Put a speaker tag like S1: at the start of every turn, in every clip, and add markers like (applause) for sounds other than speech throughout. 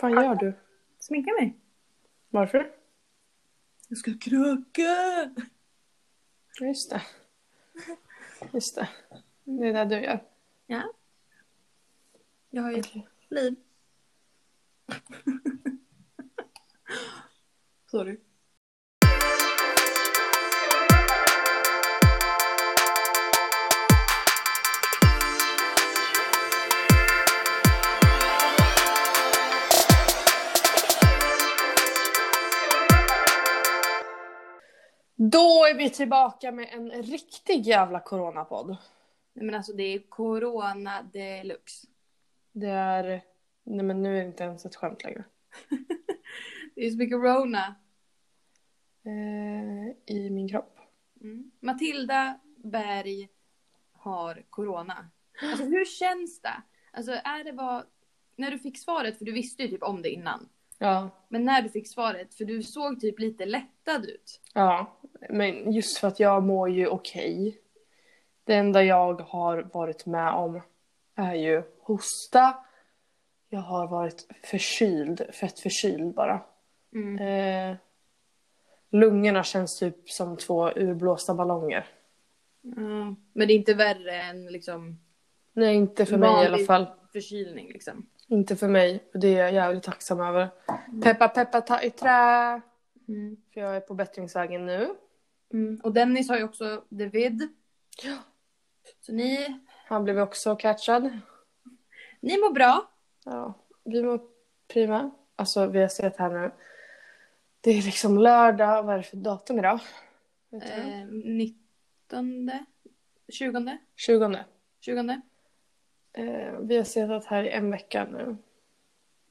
S1: fan gör du?
S2: Sminka mig.
S1: Varför?
S2: Jag ska kröka!
S1: Ja, Just det. Just det. Det är det du gör.
S2: Ja. Jag har ju ett
S1: Okej.
S2: liv. (laughs) Sorry.
S1: Då är vi tillbaka med en riktig jävla coronapodd.
S2: Nej men alltså det är corona deluxe.
S1: Det är... Nej men nu är det inte ens ett skämt längre.
S2: Det är så mycket corona.
S1: Eh, I min kropp.
S2: Mm. Matilda Berg har corona. Alltså hur känns det? Alltså är det bara... När du fick svaret, för du visste ju typ om det innan.
S1: Ja.
S2: Men när du fick svaret, för du såg typ lite lättad ut.
S1: Ja. Men just för att jag mår ju okej. Det enda jag har varit med om är ju hosta. Jag har varit förkyld. Fett förkyld bara.
S2: Mm.
S1: Eh, lungorna känns typ som två urblåsta ballonger.
S2: Ja. Men det är inte värre än liksom
S1: Nej, inte för mig i alla
S2: Vanlig-
S1: fall.
S2: förkylning liksom.
S1: Inte för mig. och Det är jag jävligt tacksam över. Peppa, peppa, ta i trä.
S2: Mm.
S1: För jag är på bättringsvägen nu.
S2: Mm. Och Dennis har ju också David. Så ni,
S1: Han blev också catchad.
S2: ni mår bra.
S1: Ja, vi mår prima. Alltså, vi har sett här nu. Det är liksom lördag. Vad är det för datum idag? Vet du?
S2: Eh, 19, 20,
S1: 20.
S2: 20.
S1: Eh, vi har sett här i en vecka nu.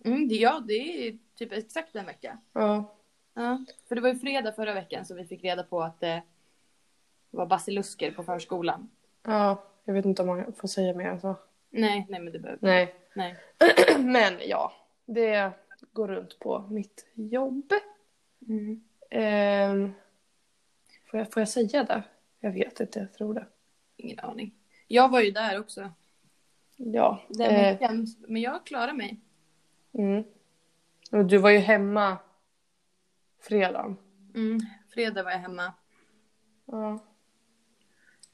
S2: Mm, det, ja, det är typ exakt en vecka.
S1: Ja,
S2: Ja. För det var ju fredag förra veckan som vi fick reda på att det var basilusker på förskolan.
S1: ja, jag vet inte om man får säga mer än så.
S2: Nej, nej men det behöver
S1: Nej,
S2: Nej.
S1: Men ja, det går runt på mitt jobb.
S2: Mm.
S1: Ehm, får, jag, får jag säga det? Jag vet inte, jag tror det.
S2: Ingen aning. Jag var ju där också.
S1: Ja.
S2: Den
S1: eh,
S2: veckan, men jag klarade mig.
S1: mm. Och Du var ju hemma fredagen.
S2: Mm. Fredag var jag hemma.
S1: Ja.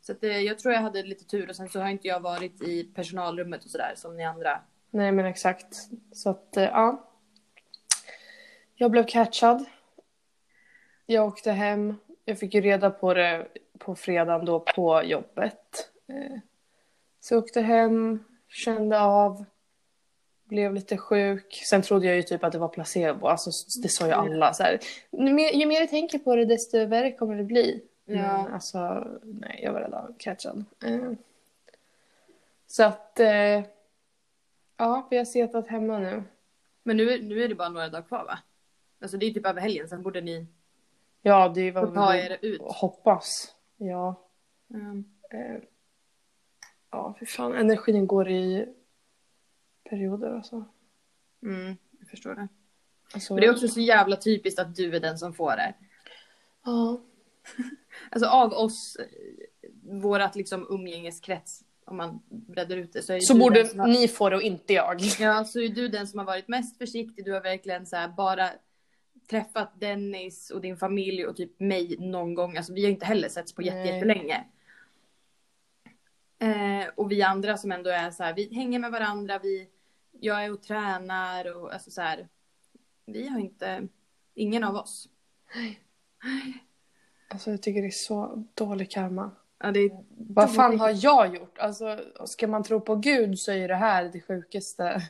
S2: Så att, eh, jag tror jag hade lite tur och sen så har inte jag varit i personalrummet och sådär som ni andra.
S1: Nej men exakt. Så att eh, ja. Jag blev catchad. Jag åkte hem. Jag fick ju reda på det på fredagen då på jobbet. Eh, Så jag åkte hem, kände av, blev lite sjuk. Sen trodde jag ju typ att det var placebo. Alltså det sa ju alla så här. Ju mer, ju mer jag tänker på det desto värre kommer det bli.
S2: Ja.
S1: Men alltså nej, jag var redan catchad. Eh, Så att eh, Ja, vi har setat hemma nu.
S2: Men nu, nu är det bara några dagar kvar va? Alltså det är typ över helgen, sen borde ni
S1: Ja, det är
S2: få
S1: vad
S2: ta
S1: vi
S2: er ut.
S1: hoppas. Ja.
S2: Mm.
S1: Eh, ja, för fan. Energin går i perioder alltså.
S2: Mm, jag förstår det.
S1: alltså
S2: Men det är också så jävla typiskt att du är den som får det.
S1: Ja.
S2: Alltså av oss, eh, vårat liksom umgängeskrets, om man breddar ut det så är ju
S1: Så
S2: du
S1: borde
S2: den som har...
S1: ni få det och inte jag.
S2: Ja, så är du den som har varit mest försiktig. Du har verkligen så här bara träffat Dennis och din familj och typ mig någon gång. Alltså vi har inte heller setts på jätte-
S1: Nej.
S2: jättelänge. Eh, och vi andra som ändå är så här, vi hänger med varandra, vi, jag är och tränar och alltså så här. Vi har inte, ingen av oss.
S1: Alltså jag tycker det är så dålig karma.
S2: Ja, det är
S1: Vad fan har jag gjort? Alltså ska man tro på Gud så är ju det här det sjukaste.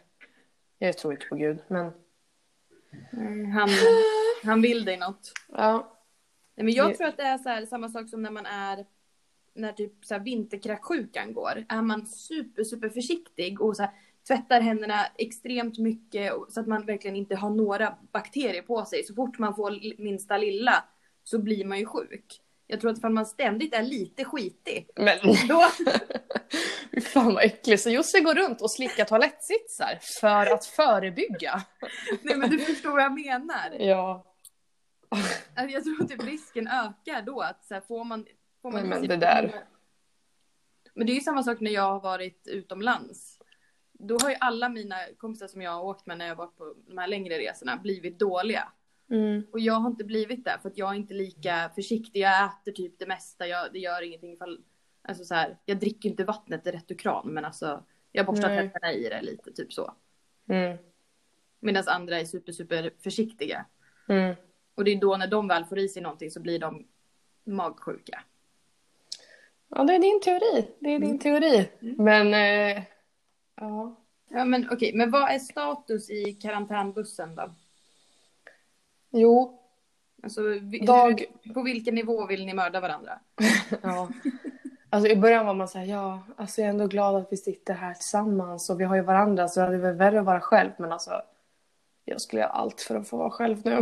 S1: Jag tror inte på Gud, men
S2: Mm, han, han vill dig något.
S1: ja.
S2: Nej, men jag
S1: Det-
S2: tror att det är så här, samma sak som när man är när typ så här vinterkräksjukan går. Är man super, super försiktig och så här, tvättar händerna extremt mycket och, så att man verkligen inte har några bakterier på sig. Så fort man får li- minsta lilla så blir man ju sjuk. Jag tror att ifall man ständigt är lite skitig (laughs)
S1: Men (laughs)
S2: då...
S1: Fy fan vad äckligt. Så Jussi går runt och slickar toalettsitsar för att förebygga.
S2: Nej men du förstår vad jag menar.
S1: Ja.
S2: Alltså, Jag tror att typ risken ökar då att så här, får man... Får man
S1: Nej, men det där.
S2: Men det är ju samma sak när jag har varit utomlands. då har ju alla mina kompisar som jag har åkt med när jag varit på de här längre resorna blivit dåliga.
S1: Mm.
S2: Och jag har inte blivit det för att jag är inte lika försiktig. Jag äter typ det mesta. Jag, det gör ingenting ifall... Alltså så här, jag dricker ju inte vattnet i rätt ur kran men alltså jag borstar
S1: Nej.
S2: tänderna i det lite typ så.
S1: Mm.
S2: Medan andra är super super försiktiga.
S1: Mm.
S2: Och det är då när de väl får i sig någonting så blir de magsjuka.
S1: Ja, det är din teori. Det är din teori. Men, eh, ja.
S2: Ja men okej, men vad är status i karantänbussen då?
S1: Jo.
S2: Alltså, vi,
S1: Dag-
S2: hur, på vilken nivå vill ni mörda varandra?
S1: Ja. Alltså i början var man såhär, ja, alltså jag är ändå glad att vi sitter här tillsammans och vi har ju varandra så det hade väl värre att vara själv men alltså jag skulle göra allt för att få vara själv nu.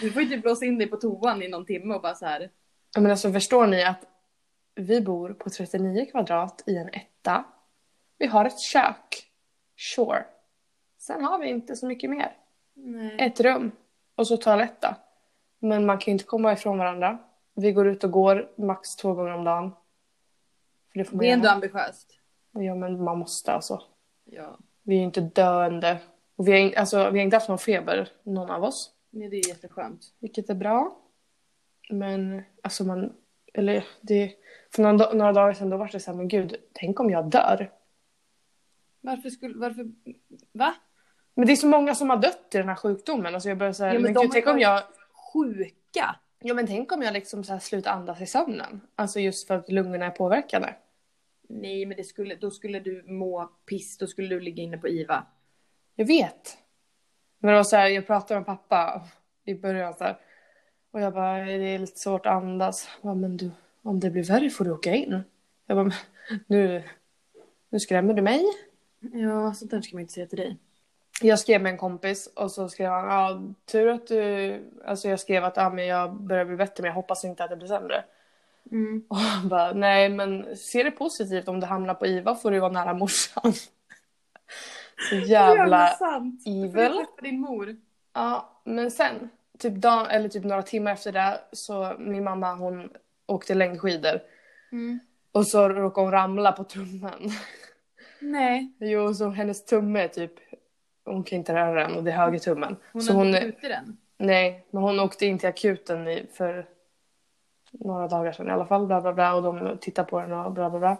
S2: Du får ju typ blåsa in dig på toan i någon timme och bara så här.
S1: Ja, Men alltså förstår ni att vi bor på 39 kvadrat i en etta. Vi har ett kök. Sure. Sen har vi inte så mycket mer.
S2: Nej.
S1: Ett rum och så toalett då. Men man kan ju inte komma ifrån varandra. Vi går ut och går max två gånger om dagen. För det får man
S2: Det är ändå
S1: göra.
S2: ambitiöst.
S1: Ja men man måste alltså.
S2: Ja,
S1: Vi är ju inte döende. Och vi har, in- alltså, vi har inte haft någon feber, någon av oss.
S2: men det är jätteskönt.
S1: Vilket är bra. Men alltså man, eller det, för några, da- några dagar sedan då var det så här, men gud, tänk om jag dör.
S2: Varför skulle, varför, va?
S1: Men det är så många som har dött i den här sjukdomen. Alltså jag börjar säga,
S2: Ja,
S1: men,
S2: men de
S1: gud,
S2: har
S1: tänk om
S2: varit-
S1: jag,
S2: Sjuka?
S1: ja men tänk om jag liksom så här slutar andas i sömnen. Alltså just för att lungorna är påverkade.
S2: Nej, men det skulle, då skulle du må piss, då skulle du ligga inne på IVA.
S1: Jag vet. Men det var så här, jag pratade med pappa i början så här. Och jag bara, det är lite svårt att andas. Jag bara, men du, om det blir värre får du åka in. Jag bara, men nu, nu skrämmer du mig.
S2: Ja, sånt där ska man inte säga till dig.
S1: Jag skrev med en kompis och så skrev han, ja tur att du, alltså jag skrev att ja, men jag börjar bli bättre men jag hoppas inte att det blir sämre.
S2: Mm.
S1: Och han bara, nej men se det positivt om du hamnar på IVA får du vara nära morsan. (laughs) Så jävla
S2: sant. Du får
S1: evil.
S2: ju träffa din mor.
S1: Ja, men sen, typ, dag, eller typ några timmar efter det, så min mamma hon åkte längdskidor
S2: Mm.
S1: och så råkade hon ramla på tummen.
S2: Nej,
S1: (laughs) Jo, så hennes tumme är typ, hon kan inte röra den och det är högertummen.
S2: hon
S1: så
S2: har
S1: hon,
S2: inte skjutit den.
S1: nej, men hon åkte in till akuten i, för några dagar sedan i alla fall, bla bla bla, och de tittar på den och bla bla bla.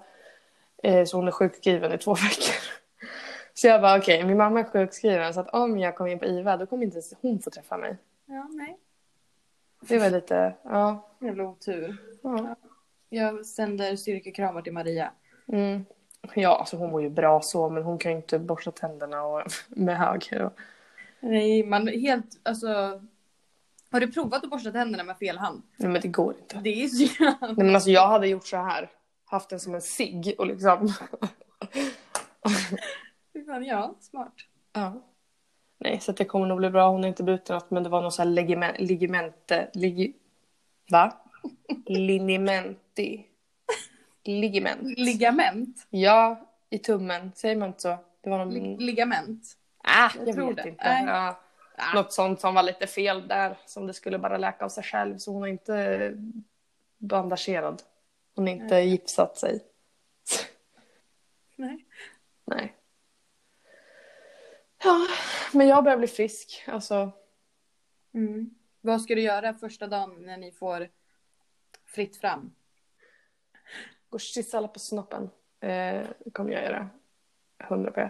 S1: Eh, så hon är sjukskriven i två (laughs) veckor. Så jag bara okej, min mamma är sjukskriven så att om jag kommer in på IVA då kommer inte ens hon få träffa mig.
S2: Ja, nej.
S1: Det var lite, ja.
S2: Jävla otur.
S1: Ja.
S2: Jag sänder styrkekramar till Maria.
S1: Mm. Ja, alltså hon mår ju bra så, men hon kan ju inte borsta tänderna och, (laughs) med höger. Och...
S2: Nej, man helt, alltså. Har du provat att borsta tänderna med fel hand?
S1: Nej, men det går inte.
S2: Det är så jävla...
S1: Nej, men alltså jag hade gjort så här. Haft den som en cigg och liksom...
S2: (laughs) Fy fan, Ja, smart.
S1: Ja. Nej, så att det kommer nog bli bra. Hon har inte brutit något, men det var någon så här ligament... Ligamente... Lig... Va? Linimenti. Ligament.
S2: Ligament?
S1: Ja, i tummen. Säger man inte så? Det var någon...
S2: Lig- ligament?
S1: Ah,
S2: Jag
S1: jag,
S2: tror
S1: vet
S2: det.
S1: inte.
S2: Nej.
S1: Ja.
S2: Ah.
S1: Något sånt som var lite fel där. Som det skulle bara läka av sig själv. Så hon är inte bandagerad. Hon har inte gipsat sig.
S2: Nej.
S1: Nej. Ja, men jag börjar bli frisk. Alltså,
S2: Vad ska du göra första dagen när ni får fritt fram?
S1: gå och kyssa alla på snoppen. Eh, det kommer jag göra. 100 på.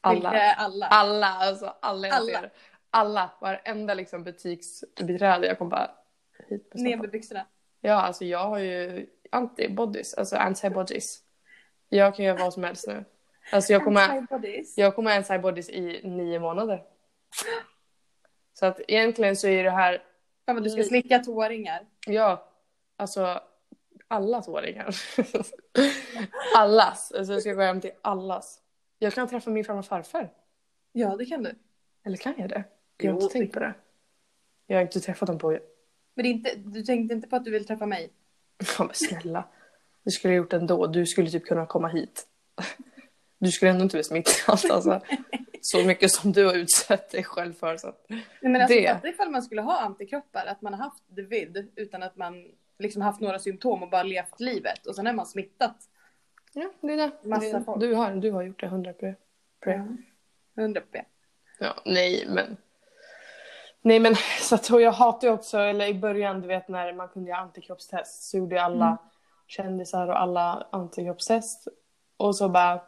S1: Alla.
S2: Vilka är alla?
S1: Alla, alltså alla jag
S2: Alla.
S1: ser. Alla, varenda liksom butiksbiträde. Jag kommer bara hit med
S2: Ner
S1: snoppen.
S2: med byxorna.
S1: Ja, alltså jag har ju antibodies, alltså antibodies. Jag kan göra vad som helst nu. Alltså jag kommer,
S2: Antibodies.
S1: jag kommer ha antibodies i nio månader. Så att egentligen så är det här,
S2: Fan vad du
S1: Mm.
S2: ska slicka tåringar.
S1: ja, alltså allas åringar. (laughs) allas, alltså jag ska gå hem till allas. Jag kan träffa min farmor och farfar.
S2: Ja, det kan du.
S1: Eller kan jag det? Jag har
S2: Jo,
S1: inte tänkt på det. Jag har inte träffat dem på, (laughs) ja
S2: Men det är inte, du tänkte inte på att du vill träffa mig?
S1: men snälla. Det skulle jag gjort ändå, du skulle typ kunna komma hit. (laughs) Du skulle ändå inte bli smittad
S2: (laughs)
S1: alltså. Så mycket som du har utsatt dig själv för. Så. att-
S2: Nej, men alltså,
S1: Det.
S2: fatta ifall man skulle ha antikroppar, att man har haft covid utan att man liksom haft några symptom och bara levt livet och sen är man smittat.
S1: Ja, det är det.
S2: Massa
S1: det är,
S2: folk.
S1: Du, har, du har gjort det hundra pro. pro. Ja.
S2: Hundra p.
S1: nej men. Nej men så att, och jag hatar ju också, eller i början du vet när man kunde göra antikroppstest så gjorde ju alla
S2: Mm.
S1: kändisar och alla antikroppstest. Och så bara,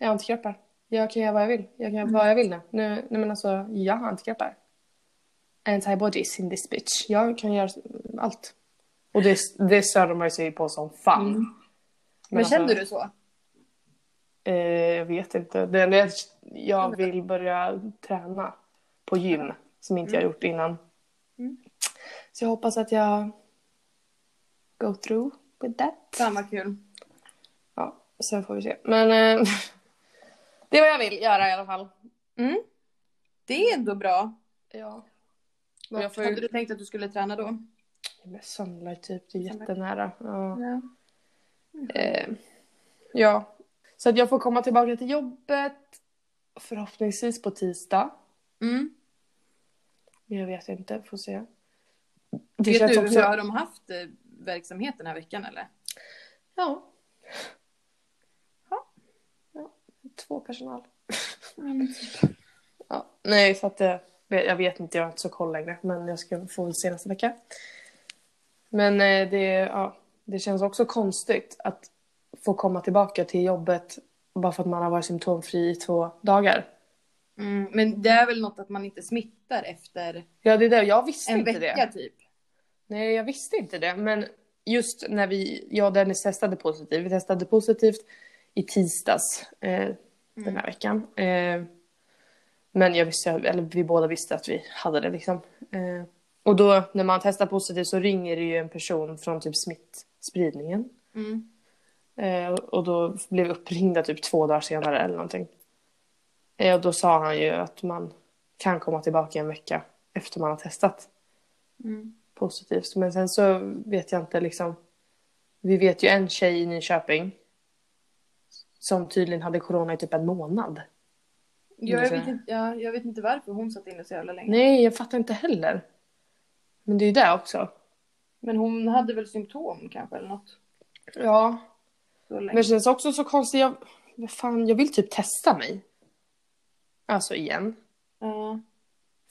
S1: jag har antikroppar. Jag kan göra vad jag vill. Jag kan göra
S2: Mm.
S1: vad jag vill nu. nu. Nej men alltså, jag har antikroppar. Antibodies in this bitch. Jag kan göra allt. Och det, det störde man ju sig på som fan.
S2: Mm. Men,
S1: alltså-
S2: känner du så?
S1: Eh, jag vet inte. Det enda är att jag
S2: Mm.
S1: vill börja träna på gym som inte jag gjort innan.
S2: Mm.
S1: Så jag hoppas att jag go through with that.
S2: Fan vad kul.
S1: Ja, sen får vi se. Men eh, (laughs) det är vad jag vill göra i alla fall.
S2: Mm. Det är ändå bra.
S1: Ja.
S2: Vad,
S1: Jag får ju-
S2: Hade du tänkt att du skulle träna då?
S1: Men Sunlight typ, det är jättenära. Ja.
S2: Ja.
S1: Eh, ja. Så att jag får komma tillbaka till jobbet förhoppningsvis på tisdag.
S2: Mm.
S1: Men jag vet inte, får se.
S2: Det
S1: känns
S2: Vet du,
S1: också-
S2: har de haft eh, verksamhet den här veckan eller?
S1: Ja. ja. Två personal. Ja. Nej, så att det, jag vet inte, jag har inte så koll längre. Men jag ska få väl se nästa vecka. Men eh, det, ja, det känns också konstigt att få komma tillbaka till jobbet bara för att man har varit symptomfri i två dagar.
S2: Mm. Men det är väl något att man inte smittar efter
S1: Ja, det är det. Jag visste
S2: en
S1: inte
S2: vecka
S1: det.
S2: typ.
S1: Nej, jag visste inte det. Men just när vi, jag och Dennis testade positivt. Vi testade positivt i tisdags. Eh, den här veckan. Eh, men jag visste, eller vi båda visste att vi hade det liksom. Eh, och då när man testar positivt så ringer det ju en person från typ smittspridningen.
S2: Mm.
S1: Eh, och- och då blev vi uppringda typ två dagar senare eller någonting. Eh, och då sa han ju att man kan komma tillbaka en vecka efter man har testat
S2: Mm.
S1: positivt. Men sen så vet jag inte liksom. Vi vet ju en tjej i Nyköping som tydligen hade corona i typ en månad.
S2: Ja, jag,
S1: Inte.
S2: vet inte, ja, jag vet inte varför hon satt inne så jävla länge.
S1: Nej, jag fattar inte heller. Men det är ju det också.
S2: Men hon hade väl symptom kanske eller något.
S1: Ja.
S2: Så
S1: Men det
S2: länge.
S1: känns också så konstigt. Jag, vad fan, jag vill typ testa mig. Alltså igen.
S2: Ja.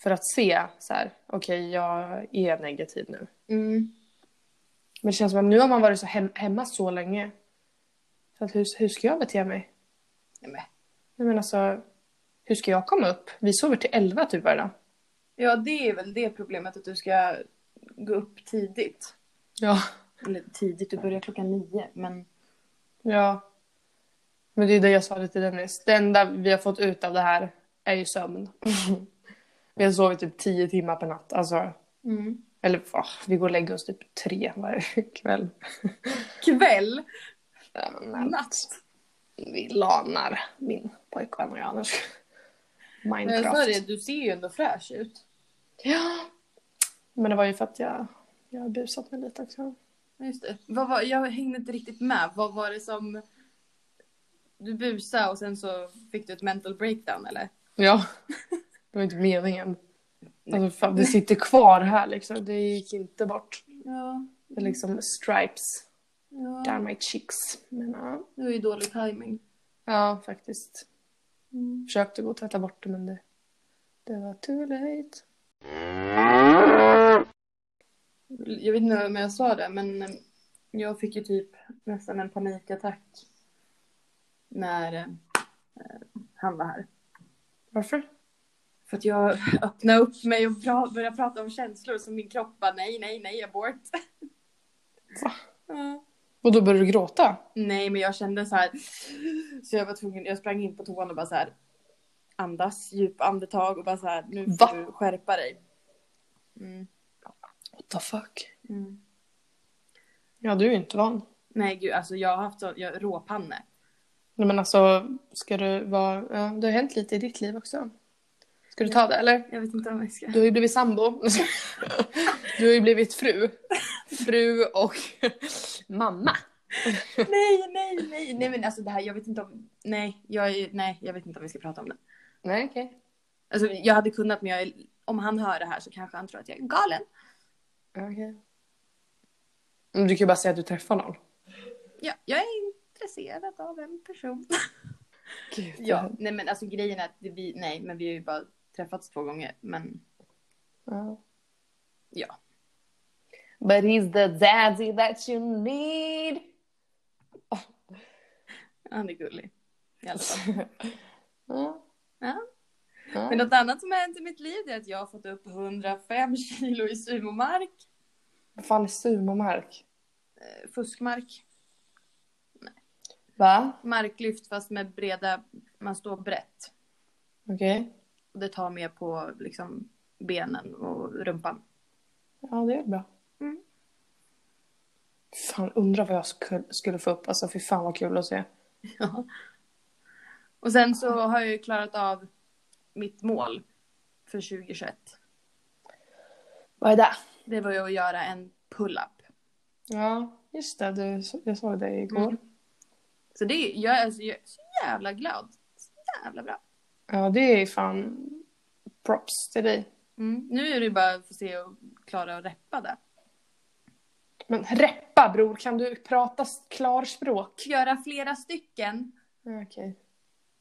S1: För att se så här. Okej, jag är negativ nu.
S2: Mm.
S1: Men det känns som att nu har man varit så hem, hemma så länge. Så att hur, hur ska jag bete mig?
S2: Nej, men.
S1: Nej men alltså. Hur ska jag komma upp? Vi sover till elva typ varje dag.
S2: Ja, det är väl det problemet att du ska gå upp tidigt.
S1: Ja.
S2: Eller tidigt, du börjar klockan nio. Men
S1: Ja. Men det är det jag sa till Dennis. Det enda vi har fått ut av det här är ju (laughs) sömn. vi har sovit typ tio timmar per natt. Alltså,
S2: mm.
S1: eller ah, vi går och lägger oss typ tre varje (laughs) kväll.
S2: kväll,
S1: Ja, men
S2: natt.
S1: Vi lanar min pojkvän och jag annars.
S2: Men jag sa
S1: Minecraft.
S2: det, Eh, du ser ju ändå fräsch ut.
S1: Ja. Men det var ju för att jag, jag har busat mig lite också.
S2: Ja, Just det. Vad var, jag hängde inte riktigt med. Vad var det som... Du busade och sen så fick du ett mental breakdown eller?
S1: Ja. Det var inte meningen. Alltså, fan, det sitter kvar här liksom. Det gick inte bort.
S2: Ja.
S1: Det är liksom stripes.
S2: ja.
S1: down my cheeks. Men ja.
S2: Det var ju dålig timing.
S1: ja, faktiskt.
S2: Mm.
S1: Försökte gå och tvätta bort det men det, det var too late.
S2: Jag vet inte om jag sa det men eh, jag fick ju typ nästan en panikattack. När eh, eh, han var här.
S1: Varför?
S2: För att jag öppnade upp mig och pra- började prata om känslor som min kropp bara nej, nej, nej, abort.
S1: Va?
S2: Ja.
S1: Och då började du gråta?
S2: Nej, men jag kände så här. Så jag var tvungen, jag sprang in på toan och bara så här. Andas, djup andetag och bara så här. Nu får
S1: Va?
S2: du skärpa dig. Mm,
S1: What the fuck?
S2: mm.
S1: Ja, du är ju inte van.
S2: Nej, gud, alltså jag har haft så, jag, råpanne.
S1: Nej, men alltså, ska du vara... Ja, det har hänt lite i ditt liv också. Ska du ta det eller?
S2: Jag vet inte om jag ska.
S1: Du har ju blivit sambo. (laughs) Du har ju blivit fru. Fru och (laughs) mamma.
S2: nej, nej, nej, nej, men alltså det här, jag vet inte om. Nej, jag är, nej, jag vet inte om vi ska prata om det.
S1: Nej, okej.
S2: Alltså, jag hade kunnat, men jag, är- om han hör det här så kanske han tror att jag är galen.
S1: Ja, okej. Men Du kan ju bara säga att du träffar någon.
S2: Ja, jag är intresserad av en person.
S1: Gud,
S2: Ja, (laughs) nej men alltså grejen är att det, vi, nej men vi har ju bara träffats två gånger. Men
S1: ja.
S2: ja.
S1: But he's the daddy that you need.
S2: han är gullig. I alla fall.
S1: (laughs) ja.
S2: Ja.
S1: Ja.
S2: Men något annat som har hänt i mitt liv är att jag har fått upp 105 kilo i sumomark.
S1: Vad fan är sumomark?
S2: Eh, Fuskmark.
S1: Va?
S2: Marklyft fast med breda, man står brett.
S1: Okej.
S2: Och det tar med på liksom benen och rumpan.
S1: Ja, det är bra.
S2: Mm.
S1: Fan, undrar vad jag sku- skulle få upp. Alltså, fy fan vad kul att se.
S2: Ja. Och sen så har jag ju klarat av mitt mål för 2021.
S1: Vad är det?
S2: Det var ju att göra en pull-up.
S1: Ja, just det. Du, jag såg dig igår.
S2: Mm. Så det, jag, är så, jag är så jävla glad. Så jävla bra.
S1: Ja, det är fan props till dig.
S2: Mm. Nu är det bara att få se och klara att reppa det.
S1: Men reppa bror, kan du prata s- klarspråk?
S2: Göra flera stycken.
S1: Ja, Okej.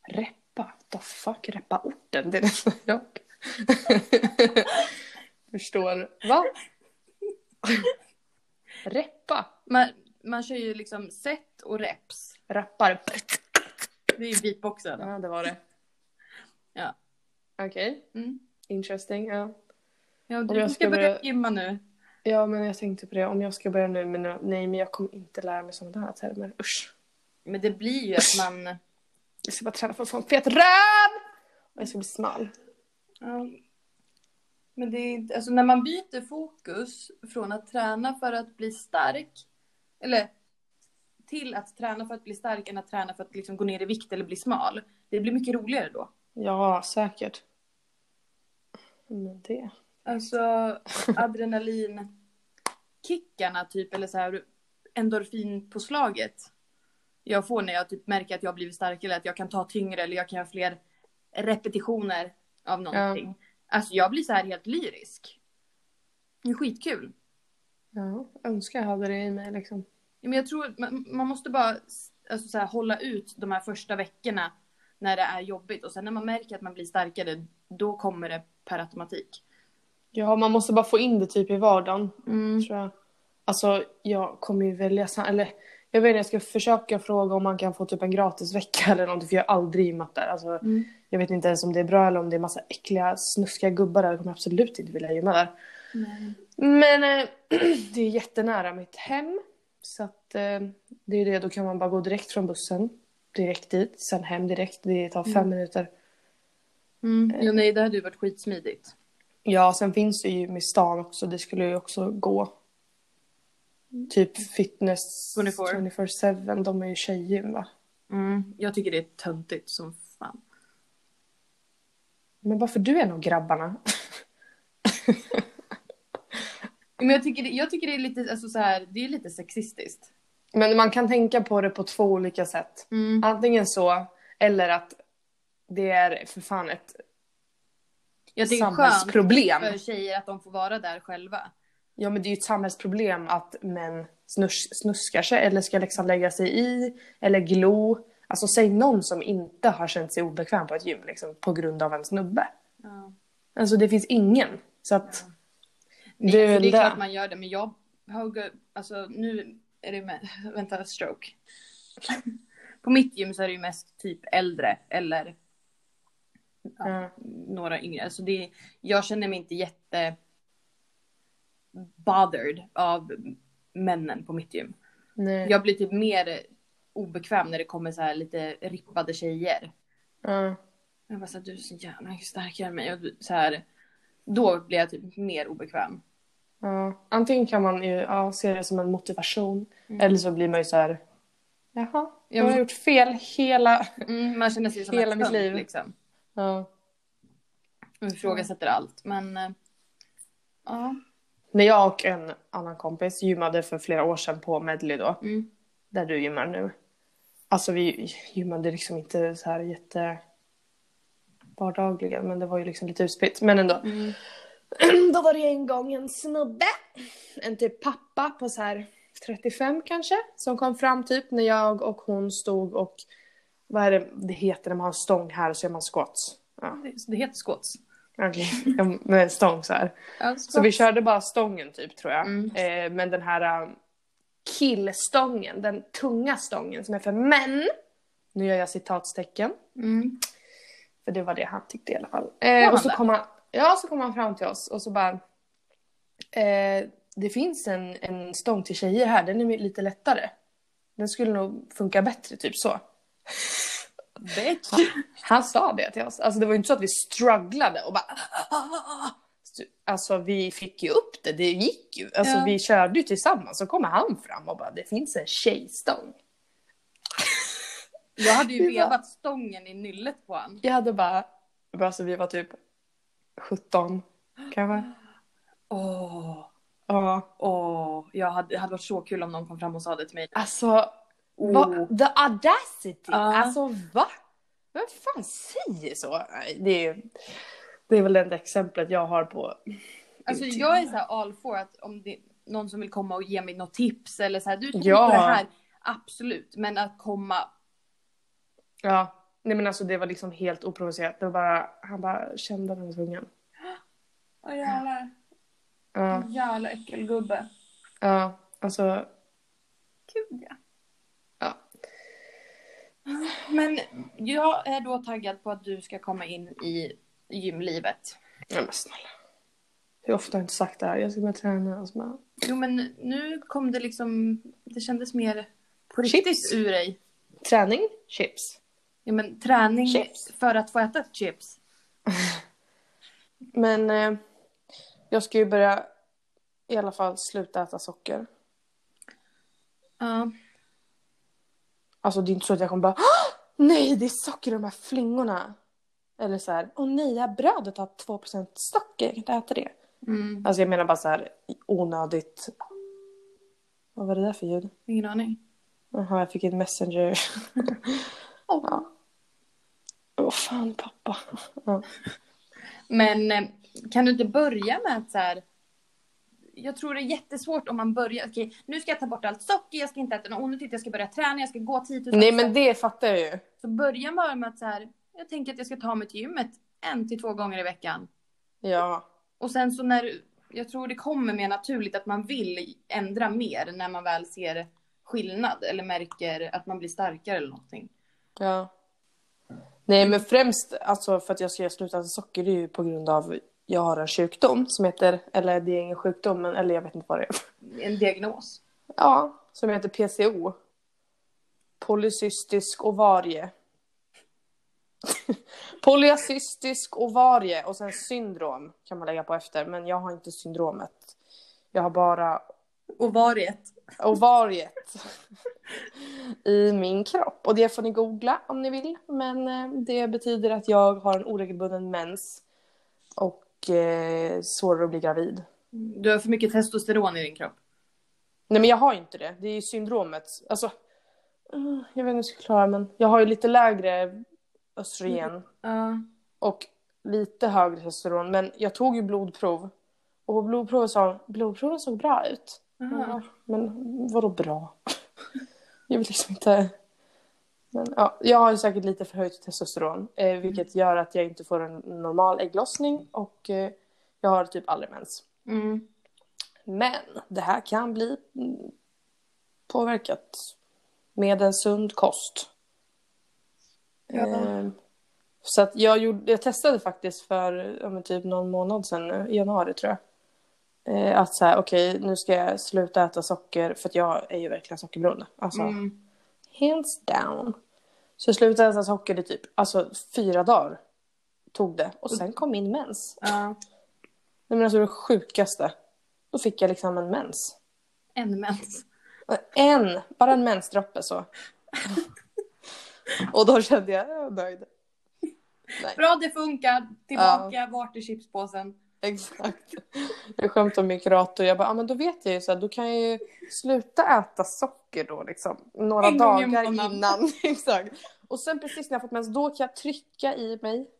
S1: Reppa? What the fuck? Reppa orten? Det är nästan jag. (laughs) Förstår. Va? reppa?
S2: Man, man kör ju liksom set och reps.
S1: Rappar?
S2: Det är ju beatboxen.
S1: Ja, det var det.
S2: Ja.
S1: Okej.
S2: Mm.
S1: Interesting. Ja.
S2: Ja,
S1: Om jag
S2: du
S1: ska
S2: ska börja
S1: börja-
S2: gymma nu.
S1: ja, men jag tänkte på det. Om jag ska börja nu med några... Nej, men jag kommer inte lära mig sådana här termer. Usch.
S2: Men det blir ju att man...
S1: Jag ska bara träna för att få en fet röv! Och jag ska bli smal.
S2: Ja. Men det är, alltså när man byter fokus från att träna för att bli stark, eller till att träna för att bli stark än att träna för att liksom gå ner i vikt eller bli smal. Det blir mycket roligare då.
S1: Ja, säkert. Men det...
S2: Alltså adrenalinkickarna typ, eller så här endorfinpåslaget jag får när jag typ märker att jag har blivit starkare, eller att jag kan ta tyngre eller jag kan göra fler repetitioner av någonting. Alltså jag blir så här helt lyrisk. Det är skitkul.
S1: Ja, önskar jag hade det i mig liksom.
S2: Men jag tror att man, man måste bara alltså, så här, hålla ut de här första veckorna när det är jobbigt och sen när man märker att man blir starkare, då kommer det per automatik.
S1: Ja, man måste bara få in det typ i vardagen.
S2: Mm.
S1: Tror jag. Alltså, jag kommer ju välja... sam- Eller, jag vet inte, jag ska försöka fråga om man kan få typ en gratis vecka eller någonting. För jag har aldrig gymmat där. Alltså,
S2: Mm.
S1: Jag vet inte ens om det är bra eller om det är massa äckliga, snuskiga gubbar där. Jag kommer absolut inte vilja gymma där.
S2: Nej.
S1: Men eh, (clears throat) det är jättenära mitt hem. Så att eh, det är det, då kan man bara gå direkt från bussen. Direkt dit, sen hem direkt. Det tar fem minuter.
S2: Mm. Jo, nej, det hade ju varit skitsmidigt.
S1: Ja, sen finns det ju gym i stan också. Det skulle ju också gå.
S2: Mm.
S1: Typ fitness
S2: 24.
S1: 24-7. De är ju tjejgym va?
S2: Mm. Jag tycker det är töntigt som fan.
S1: Men varför du är en av grabbarna? (laughs)
S2: Men jag tycker det, jag tycker det är lite, alltså så här, det är lite sexistiskt.
S1: Men man kan tänka på det på två olika sätt.
S2: Mm.
S1: Antingen så, eller att det är för fan ett
S2: Jag tycker det är skönt
S1: samhällsproblem.
S2: för tjejer att de får vara där själva.
S1: Ja men det är ju ett samhällsproblem att män snus- snuskar sig eller ska liksom lägga sig i eller glo. Alltså säg någon som inte har känt sig obekväm på ett gym liksom, på grund av en snubbe. Alltså det finns ingen. Så att...
S2: Nej,
S1: Det är
S2: alltså,
S1: väl
S2: det är
S1: det.
S2: klart man gör det, men jag har gu- alltså nu är det med, (laughs) vänta, stroke. På mitt gym så är det ju mest typ äldre eller
S1: Ja.
S2: några yngre. Alltså det, jag känner mig inte jätte bothered av männen på mitt gym.
S1: Nej.
S2: Jag blir typ mer obekväm när det kommer så här lite rippade tjejer.
S1: Ja.
S2: Jag bara så här, du är så jävla mycket starkare än mig. Och du- så här, då blir jag typ mer obekväm.
S1: Ja. Antingen kan man ju ja, se det som en motivation
S2: Mm.
S1: eller så blir man ju så här. Jaha, jag har
S2: men-
S1: gjort fel hela...
S2: Mm, man känner sig som
S1: Hela
S2: en
S1: mitt
S2: tönt,
S1: liv.
S2: Liksom.
S1: Ja.
S2: Man ifrågasätter allt. Men eh, ja.
S1: När jag och en annan kompis gymmade för flera år sedan på Medley då,
S2: Mm.
S1: där du gymmar nu. Alltså vi gymmade liksom inte så här jätte vardagligen, men det var ju liksom lite utspritt. Men ändå. (clears throat) Då var det en gång en snubbe, en typ pappa på så här 35 kanske, som kom fram typ när jag och hon stod och vad är det det heter när man har stång här och så gör man squats? Ja,
S2: Det- Det heter squats.
S1: okej. Okay. (laughs) Med stång så här. Så vi körde bara stången typ tror jag.
S2: Mm.
S1: Eh, men den här um, killstången, den tunga stången som är för män. Nu gör jag citatstecken.
S2: Mm.
S1: För det var det han tyckte i alla fall.
S2: han
S1: Eh, och så
S2: det?
S1: kom han, ja, så kom han fram till oss och så bara. Eh, det finns en, en stång till tjejer här, den är lite lättare. Den skulle nog funka bättre, typ så.
S2: Bitch.
S1: Han sa det till oss. Alltså det var ju inte så att vi strugglade och bara... Alltså vi fick ju upp det, det gick ju. Alltså
S2: Ja.
S1: vi körde ju tillsammans. Så kommer han fram och bara, det finns en tjejstång.
S2: (laughs) Jag hade ju
S1: Vi bara-
S2: vevat stången i nyllet på han.
S1: Jag hade bara, alltså vi var typ 17 kanske.
S2: Åh,
S1: Ja.
S2: åh. Jag hade, det hade varit så kul om någon kom fram och sa det till mig.
S1: Alltså,
S2: Oh.
S1: va, the audacity!
S2: Ja.
S1: Alltså va? Vem fan säger så? Nej, Det är, det är väl det enda exemplet jag har på...
S2: Alltså
S1: Typ.
S2: jag är så här all for att om det är någon som vill komma och ge mig något tips eller så här, du tänker
S1: Ja.
S2: på det här, absolut. Men att komma,
S1: Ja. Nej men alltså det var liksom helt oprovocerat. Det var bara, han bara kände att han var tvungen.
S2: åh jävlar,
S1: Ja,
S2: jävla äckelgubbe.
S1: ja, alltså,
S2: Gud ja.
S1: ja.
S2: Men jag är då taggad på att du ska komma in i gymlivet.
S1: Nej men snälla. Hur ofta har jag inte sagt det här? Jag ska börja träna. Och så bara,
S2: Jo men nu kom det liksom, det kändes mer på
S1: Chips.
S2: riktigt ur dig.
S1: träning, chips.
S2: Ja men träning
S1: Chips.
S2: för att få äta chips.
S1: Men eh, jag ska ju börja i alla fall sluta äta socker.
S2: Ja.
S1: Alltså det är inte så att jag kommer bara "Åh, Nej det är socker i de här flingorna. Eller så här, åh nej det här brödet har 2% socker, jag kan inte äta det.
S2: Mm.
S1: Alltså jag menar bara så här onödigt. Vad var det där för ljud?
S2: Ingen aning.
S1: Jaha, jag fick ett messenger. (laughs) ja. Åh fan pappa. Ja.
S2: Men eh, kan du inte börja med att så här. Jag tror det är jättesvårt om man börjar. Okej, nu ska jag ta bort allt socker. Jag ska inte äta något onödigt. Jag ska börja träna. Jag ska gå 10 000
S1: Nej men det fattar jag ju.
S2: Så börja bara med att så här. Jag tänker att jag ska ta mig till gymmet en till två gånger i veckan.
S1: Ja.
S2: Och sen så när du- jag tror det kommer mer naturligt att man vill ändra mer när man väl ser skillnad eller märker att man blir starkare eller någonting.
S1: ja. Nej men främst alltså, för att jag ska sluta äta socker det är ju på grund av jag har en sjukdom som heter, eller det är ingen sjukdom men, eller jag vet inte vad det är. (laughs)
S2: En diagnos.
S1: Ja, som heter PCO. Polycystisk ovarie. (laughs) Polycystisk ovarie och sen syndrom kan man lägga på efter. Men jag har inte syndromet. Jag har bara
S2: Ovariet.
S1: ovariet i min kropp. Och det får ni googla om ni vill. Men eh, det betyder att jag har en oregelbunden mens och eh, svårare att bli gravid.
S2: Du har för mycket testosteron i din kropp.
S1: Nej men jag har ju inte det. Det är ju syndromet. Alltså, mm, jag vet inte hur jag ska klara men jag har ju lite lägre östrogen
S2: Ja.
S1: och lite högre testosteron. Men jag tog ju blodprov och på blodprovet sa hon, blodproven såg bra ut. Ja, Mm. men vadå bra? (laughs) jag vill liksom inte... Men, ja, jag har ju säkert lite förhöjt testosteron eh, vilket gör att jag inte får en normal ägglossning och eh, jag har typ aldrig mens.
S2: Mm.
S1: Men det här kan bli mm, påverkat med en sund kost.
S2: Ja.
S1: Ehm, Så att jag, gjorde, jag testade faktiskt för ja, men typ någon månad sedan, nu, i januari tror jag. Eh, Att så här, okej nu ska jag sluta äta socker för att jag är ju verkligen sockerberoende. Alltså
S2: Mm.
S1: hands down. Så jag slutade äta socker i typ alltså, fyra dagar. Tog det.
S2: Mm.
S1: Och sen kom min mens.
S2: Ja.
S1: Nej men alltså det sjukaste. Då fick jag liksom en mens.
S2: En mens.
S1: En, bara en mensdroppe så. Och då kände jag, jag är nöjd.
S2: Bra, det funkar. Tillbaka, vart är chipspåsen?
S1: Exakt. Jag skämtade om min kurator. Jag bara, ah, men då vet jag ju så här, då kan jag ju sluta äta socker då liksom. Några
S2: En gång i
S1: dagar
S2: månaden.
S1: innan. (laughs) Exakt. Och sen precis när jag fått mens, då kan jag trycka i mig.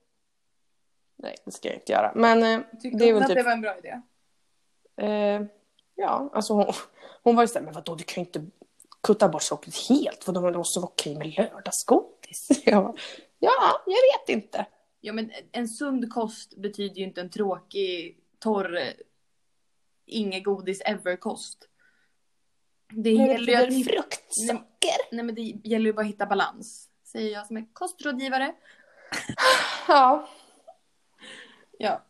S1: Nej, det ska jag inte göra. Men eh,
S2: Tyckte
S1: det är väl
S2: hon att
S1: typ
S2: det var en bra idé?
S1: Eh, ja, alltså hon, Hon var ju såhär, men vadå du kan ju inte kutta bort sockret helt, vadå men det måste vara okej med lördagsgodis. (laughs) Jag bara, ja, jag vet inte.
S2: Ja men en sund kost betyder ju inte en tråkig, torr, inget godis ever-kost. Det
S1: Det
S2: gäller ju att
S1: är
S2: hitta,
S1: fruktsocker.
S2: nej men det gäller ju bara att hitta balans. Säger jag som är kostrådgivare.
S1: Ja.
S2: Ja.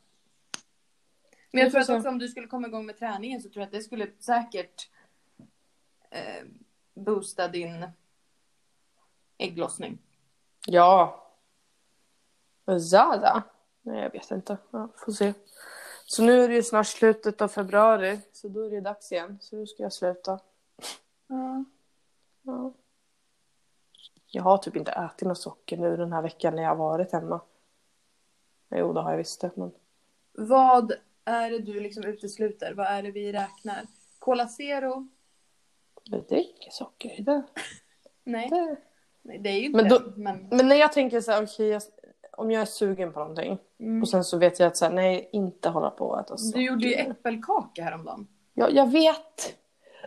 S2: Men jag tror att
S1: Så-
S2: också om du skulle komma igång med träningen så tror jag att det skulle säkert eh, boosta din ägglossning.
S1: Ja. Zada? Nej, jag vet inte. Ja, får se. Så nu är det ju snart slutet av februari, så då är det dags igen. Så nu ska jag sluta. Ja. Jag har typ inte ätit något socker nu den här veckan när jag har varit hemma. Jo, det har jag visst det, men...
S2: Vad är det du liksom utesluter? Vad är det vi räknar? Cola Zero?
S1: Jag dricker socker i det.
S2: Nej,
S1: det.
S2: nej, det är ju inte
S1: Men
S2: men
S1: då-
S2: men
S1: Men när jag tänker så här, okej, jag, om jag är sugen på någonting
S2: mm.
S1: och sen så vet jag att så här, nej, inte hålla på att äta socker.
S2: Du gjorde ju äppelkaka häromdagen.
S1: Ja, jag vet.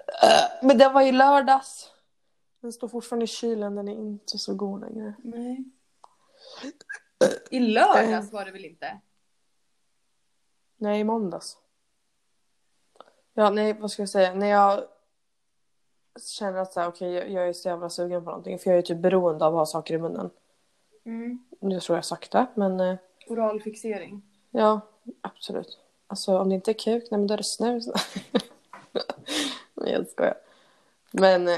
S1: Äh, Men den var i lördags. Den står fortfarande i kylen, den är inte så god längre.
S2: Nej. I
S1: Eh.
S2: lördags var det väl inte?
S1: Nej, i måndags. Ja, nej, vad ska jag säga? När jag känner att så här, okej, jag- jag är så jävla sugen på någonting. För jag är typ beroende av att ha saker i munnen. Nu tror jag sagt det, men eh,
S2: Mm. Oral fixering.
S1: ja, absolut. Alltså om det inte är kuk, nej men då är det snus. (laughs) nej, jag skojar. Men (clears throat) eh,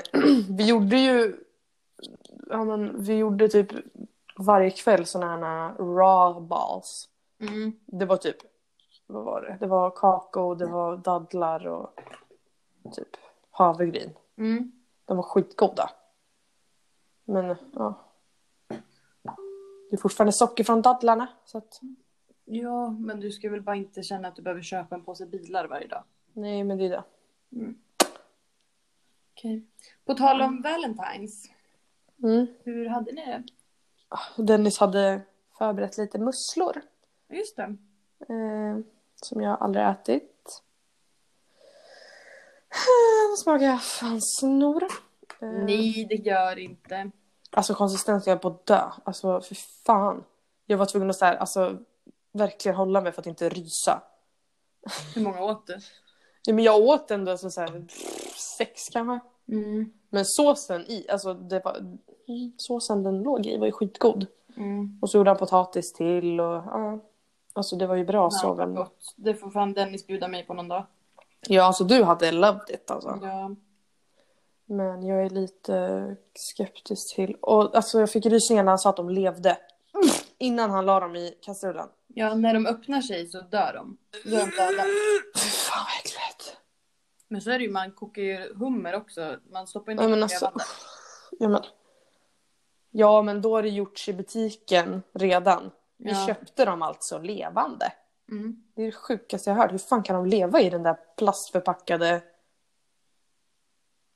S1: vi gjorde ju, ja men vi gjorde typ varje kväll sådana här eh, raw balls.
S2: Mm.
S1: Det var typ, vad var det? Det var kakao, det var dadlar och typ havregryn.
S2: Mm.
S1: De var skitgoda. Men ja. Det är fortfarande socker från dadlarna. Så att,
S2: Ja, men du ska väl bara inte känna att du behöver köpa en påse bilar varje dag.
S1: nej men det är det.
S2: Okej. På tal om Valentine's,
S1: Mm.
S2: hur hade ni det?
S1: Dennis hade förberett lite musslor.
S2: Ja, Just det.
S1: Eh, som jag aldrig ätit. Eh, De smakar fan snor. Eh,
S2: Nej, det gör inte.
S1: Alltså konsistensen, jag är på att dö. Alltså för fan. Jag var tvungen att så här, alltså, verkligen hålla mig för att inte rysa.
S2: Hur många åt du?
S1: Ja, men jag åt ändå alltså, så här, sex kanske.
S2: Mm.
S1: Men såsen i, alltså det var, mm, såsen den låg i var ju skitgod. Och så gjorde han potatis till och ja. Alltså det var ju bra så
S2: vad
S1: väl.
S2: gott. Det får fan Dennis bjuda mig på någon dag.
S1: Ja, alltså du hade loved it alltså.
S2: Ja.
S1: Men jag är lite skeptisk till. Och alltså jag fick rysningar när han sa att de levde. Innan han la dem i kastrullen.
S2: ja, när de öppnar sig så dör de. Då är de döda.
S1: Fy fan vad äckligt.
S2: Men så är det ju, man kokar ju hummer också. Man stoppar ju
S1: Nej men
S2: i
S1: alltså.
S2: vattnet.
S1: Ja men. Ja men då har det gjorts i butiken redan. Vi
S2: Ja.
S1: köpte dem alltså levande.
S2: Mm.
S1: Det är det sjukaste jag har hört. Hur fan kan de leva i den där plastförpackade...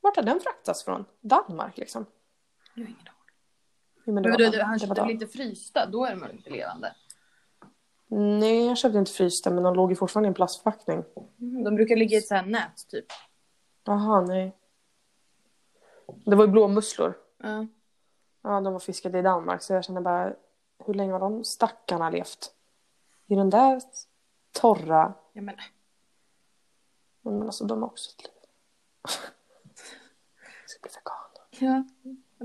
S1: Vart har den fraktats från? Danmark liksom?
S2: Jag har ingen aning.
S1: Jo, men det
S2: Men
S1: var
S2: du,
S1: Dan-
S2: du, han
S1: det var
S2: köpte
S1: Dan-
S2: väl inte frysta? Då är de väl inte levande?
S1: Nej, jag köpte inte frysta men de låg ju fortfarande i en plastförpackning. Mm.
S2: De brukar ligga i ett sånt här nät typ.
S1: Jaha, nej. Det var ju blåmusslor.
S2: Ja.
S1: Ja, de var fiskade i Danmark så jag känner bara hur länge har de stackarna levt? I den där torra...
S2: Ja, men, (laughs)
S1: Men alltså de har också ett liv. (laughs) Jag ska bli vegan.
S2: ja.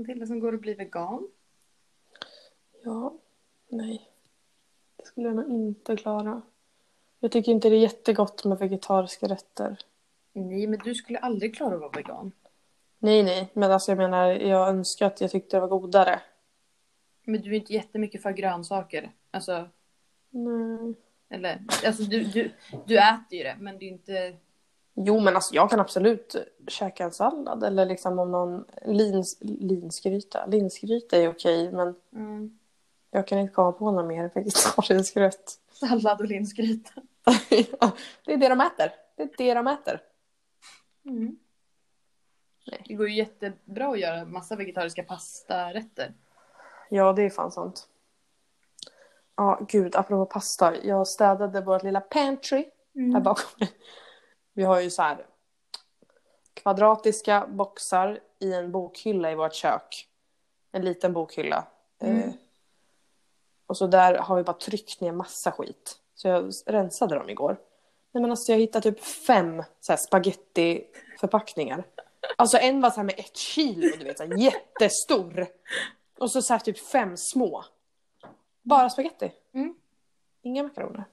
S2: Matilda som går och blir vegan.
S1: Ja, nej. Det skulle jag nog inte klara. Jag tycker inte det är jättegott med vegetariska rätter.
S2: Nej, men du skulle aldrig klara att vara vegan.
S1: Nej, nej, men alltså jag menar jag önskar att jag tyckte det var godare.
S2: Men du är inte jättemycket för grönsaker. Alltså,
S1: Nej.
S2: eller, alltså du, du, du äter ju det, men det är ju inte...
S1: Jo, men alltså jag kan absolut käka en sallad eller liksom om någon lins, linsgryta. Linsgryta är okej, men
S2: Mm.
S1: jag kan inte komma på någon mer vegetarisk rätt.
S2: Sallad och linsgryta.
S1: Ja, (laughs) det är det de äter. Det är det de äter.
S2: Mm.
S1: Nej.
S2: Det går ju jättebra att göra massa vegetariska pastarätter.
S1: Ja, det är fan sant. Ja, gud, apropå pasta. Jag Mm.
S2: Mm.
S1: städade vårt lilla pantry här bakom. Vi har ju så här kvadratiska boxar i en bokhylla i vårt kök. En liten bokhylla.
S2: Mm.
S1: Eh, och så där har vi bara tryckt ner massa skit. Så jag rensade dem igår. Nej men alltså jag hittade typ fem så här spagettiförpackningar. Alltså en var så här med ett kilo, du vet, så här, jättestor. Och så, så här typ fem små. Bara spagetti.
S2: Mm.
S1: Inga makaroner.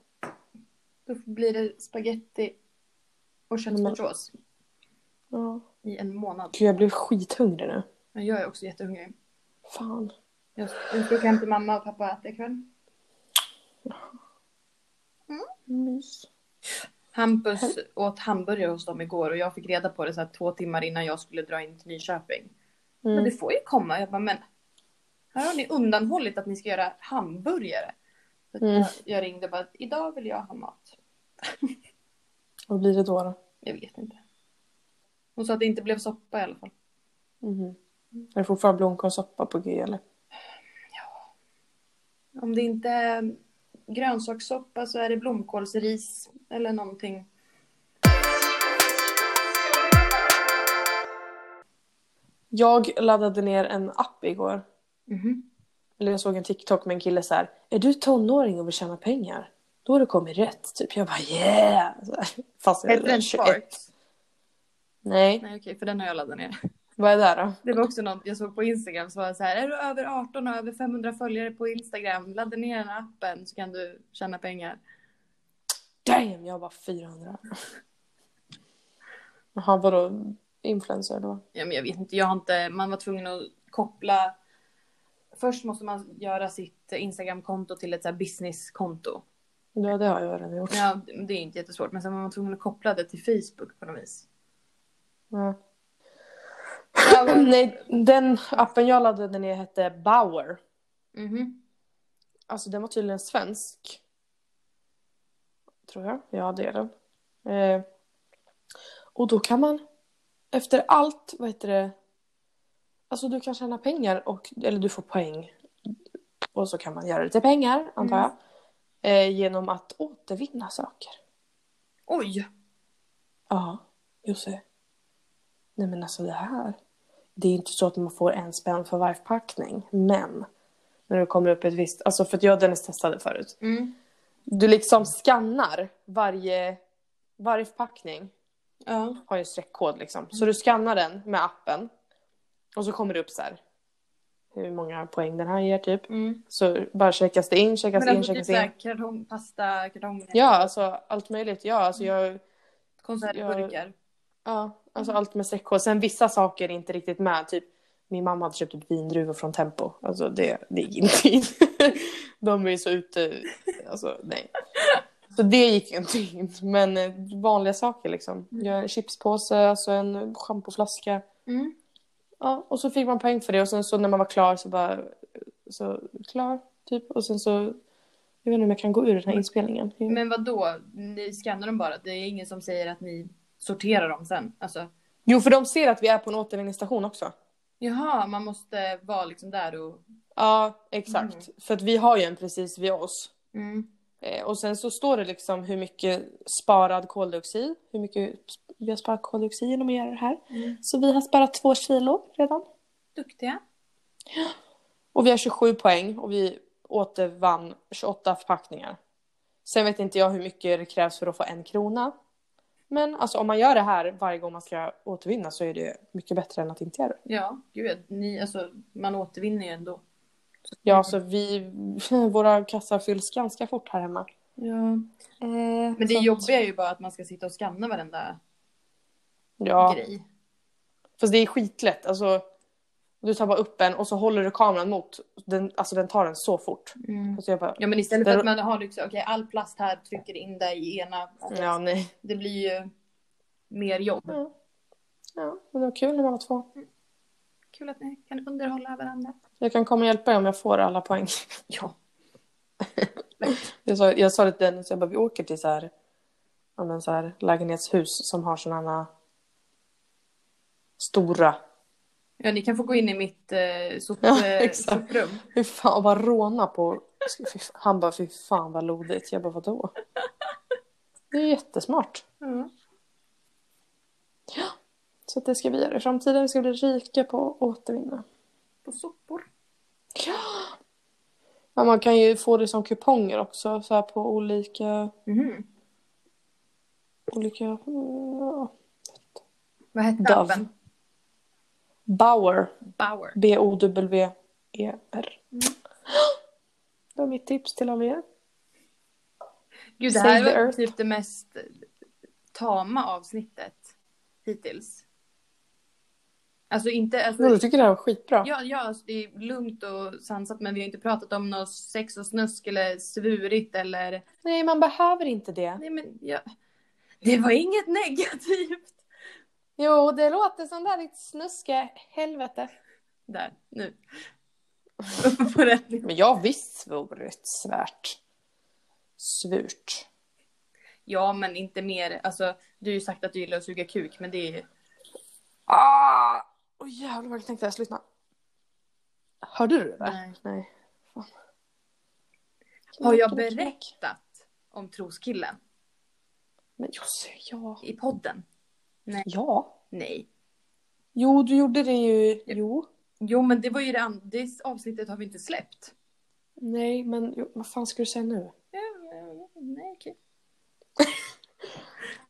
S2: Då blir det spaghetti och köttfärssås
S1: Ja.
S2: i en månad.
S1: Gud, jag blev skithungrig nu.
S2: Men jag är också jättehungrig.
S1: Fan.
S2: Jag jag ska åka hem till mamma och pappa och äta ikväll.
S1: Mys.
S2: Hampus åt hamburgare hos dem igår och jag fick reda på det så här två timmar innan jag skulle dra in till Nyköping. Men
S1: Mm.
S2: du får ju komma. Jag bara, men här har ni undanhållit att ni ska göra hamburgare. Så att
S1: Mm.
S2: jag, jag ringde och bara, idag vill jag ha mat.
S1: Vad blir det då? då?
S2: Jag vet inte. Hon sa att det inte blev soppa i alla fall.
S1: Mhm. Är det fortfarande blomkålssoppa på G eller?
S2: Om det inte är grönsakssoppa så är det blomkålsris eller någonting.
S1: Jag laddade ner en app igår.
S2: Mhm.
S1: Eller jag såg en TikTok med en kille så här. Är du tonåring och vill tjäna pengar? Då har du kommit rätt. Typ. Jag bara yeah! Så här, Fast jag
S2: Hette
S1: är
S2: den
S1: 21.
S2: Sparks?
S1: Nej.
S2: Nej okej, för den har jag laddat ner.
S1: Vad är det här då?
S2: Det var också något jag såg på Instagram som var så här, är du över 18 och över 500 följare på Instagram, ladda ner den här appen så kan du tjäna pengar.
S1: Damn! Jag var 400. Jaha, vadå? Influencer eller vad?
S2: Ja men jag vet inte, jag har inte, man var tvungen att koppla, först måste man göra sitt Instagram-konto till ett så här business-konto.
S1: Ja, det har jag redan gjort.
S2: Ja, det är inte jättesvårt, men sen var man tvungen att koppla det till Facebook på något vis.
S1: Ja.
S2: Ja, vad-
S1: Nej, den appen jag laddade ner hette Bauer.
S2: Mhm.
S1: Alltså den var tydligen svensk. Tror jag. Ja, det är den. Eh, och då kan man efter allt, vad heter det? Alltså du kan tjäna pengar och, eller du får poäng. Och så kan man göra lite pengar, antar jag.
S2: Mm.
S1: Eh, genom att återvinna saker.
S2: Oj!
S1: Ja, Josse. Nej men alltså det här. Det är inte så att man får en spänn för varje förpackning. Men när du kommer upp ett visst, alltså för att jag och Dennis testade förut.
S2: Mm.
S1: Du liksom skannar varje, varje förpackning.
S2: Ja.
S1: Har ju en streckkod liksom. Så du skannar den med appen. Och så kommer det upp så här. Hur många poäng den här ger typ.
S2: Mm.
S1: Så bara checkas det in, checkas
S2: Men
S1: in,
S2: alltså
S1: checkas
S2: typ så här
S1: in.
S2: kartong, pasta, kartonger,
S1: Ja, alltså allt möjligt. Ja, alltså jag...
S2: konservburkar.
S1: Ja, alltså
S2: Mm.
S1: allt med streckkod. Sen vissa saker är inte riktigt med. Typ, min mamma hade köpt ett vindruvor från Tempo. Alltså det, det gick inte in. (laughs) De är ju så ute. Alltså nej. Så det gick ju inte in. Men eh, vanliga saker liksom. Jag har en chipspåse, alltså en schampoflaska.
S2: Mm.
S1: Ja, och så fick man poäng för det. Och sen så när man var klar så bara... Så klar, typ. Och sen så... Jag vet inte om jag kan gå ur den här inspelningen.
S2: Mm. Men vad då? Ni skannar dem bara? Det är ingen som säger att ni sorterar dem sen? Alltså,
S1: Jo, för de ser att vi är på en återvinningsstation också.
S2: jaha, man måste vara liksom där och...
S1: Ja, exakt. För att vi har ju en precis vid oss.
S2: Mm.
S1: Eh, och sen så står det liksom hur mycket sparad koldioxid, hur mycket sp- vi har sparat koldioxid genom att göra det här.
S2: Mm.
S1: Så vi har sparat två kilo redan.
S2: Duktiga.
S1: Och vi har 27 poäng och vi återvann 28 förpackningar. Sen vet inte jag hur mycket det krävs för att få en krona. Men alltså om man gör det här varje gång man ska återvinna så är det mycket bättre än att inte göra det.
S2: Ja, gud. Ni, alltså, man återvinner ju ändå.
S1: Ja, så vi, (laughs) våra kassar fylls ganska fort här hemma.
S2: Ja. Men det jobbiga är ju bara Eh, att man ska sitta och skanna varenda
S1: ja.
S2: grej.
S1: Fast det är skitlätt. Alltså, du tar bara upp en och så håller du kameran mot. Den, alltså den tar den så fort.
S2: Mm.
S1: Alltså, jag bara,
S2: Ja men istället för
S1: Där-
S2: att man har liksom, okej all plast här trycker in där i ena. Alltså,
S1: ja, nej.
S2: Det blir ju mer jobb.
S1: Ja. ja, men det var kul när man var två.
S2: Kul att ni kan underhålla varandra.
S1: Jag kan komma och hjälpa dig om jag får alla poäng. (laughs)
S2: Ja.
S1: Jag sa, jag sa det till Dennis, jag bara, vi åker till så här, ja, men så här lägenhetshus som har sådana stora.
S2: Ja ni kan få gå in i mitt eh, sop,
S1: Ja,
S2: eh,
S1: exakt.
S2: soprum.
S1: Hur fan, och bara råna på. Fy- Han bara, fy fan vad lodigt. Jag bara, vadå? Det är jättesmart.
S2: Ja.
S1: Så att det ska vi göra i framtiden. Vi ska bli rika på att återvinna.
S2: På soppor.
S1: Ja, man kan ju få det som kuponger också så här på olika...
S2: Mhm.
S1: olika eh, ja.
S2: Vad hette
S1: Dove.
S2: appen?
S1: Bauer.
S2: Bauer.
S1: B-O-W-E-R. E (gasps) Det var mitt tips till alla er.
S2: Gud, det
S1: Save
S2: här
S1: the
S2: var
S1: Earth.
S2: typ det mest tama avsnittet hittills. Alltså inte... Alltså,
S1: Jo, Jag tycker det här var skitbra.
S2: Ja, ja alltså det är lugnt och sansat men vi har inte pratat om något sex och snusk eller svurit eller...
S1: Nej, man behöver inte det.
S2: Nej men ja. Det var inget negativt.
S1: Jo, det låter som det här ditt snuska helvete.
S2: Där, nu. (laughs) På rätt nivå.
S1: Men jag har visst svurit svärt. Svurt.
S2: Ja men inte mer, alltså du har ju sagt att du gillar att suga kuk men det är ju...
S1: Ah! Åh jävlar vad det tänkte jag. Lyssna. Hörde du det? där?
S2: Nej.
S1: Nej. Fan.
S2: Har jag berättat om troskillen
S1: Men Josse, ja.
S2: i podden?
S1: Ja.
S2: Nej.
S1: Jo, du gjorde det ju. Jo.
S2: Jo men det var ju det, an- det avsnittet har vi inte släppt.
S1: Nej, men jo, vad fan ska du säga nu?
S2: Ja, ja, Nej okej.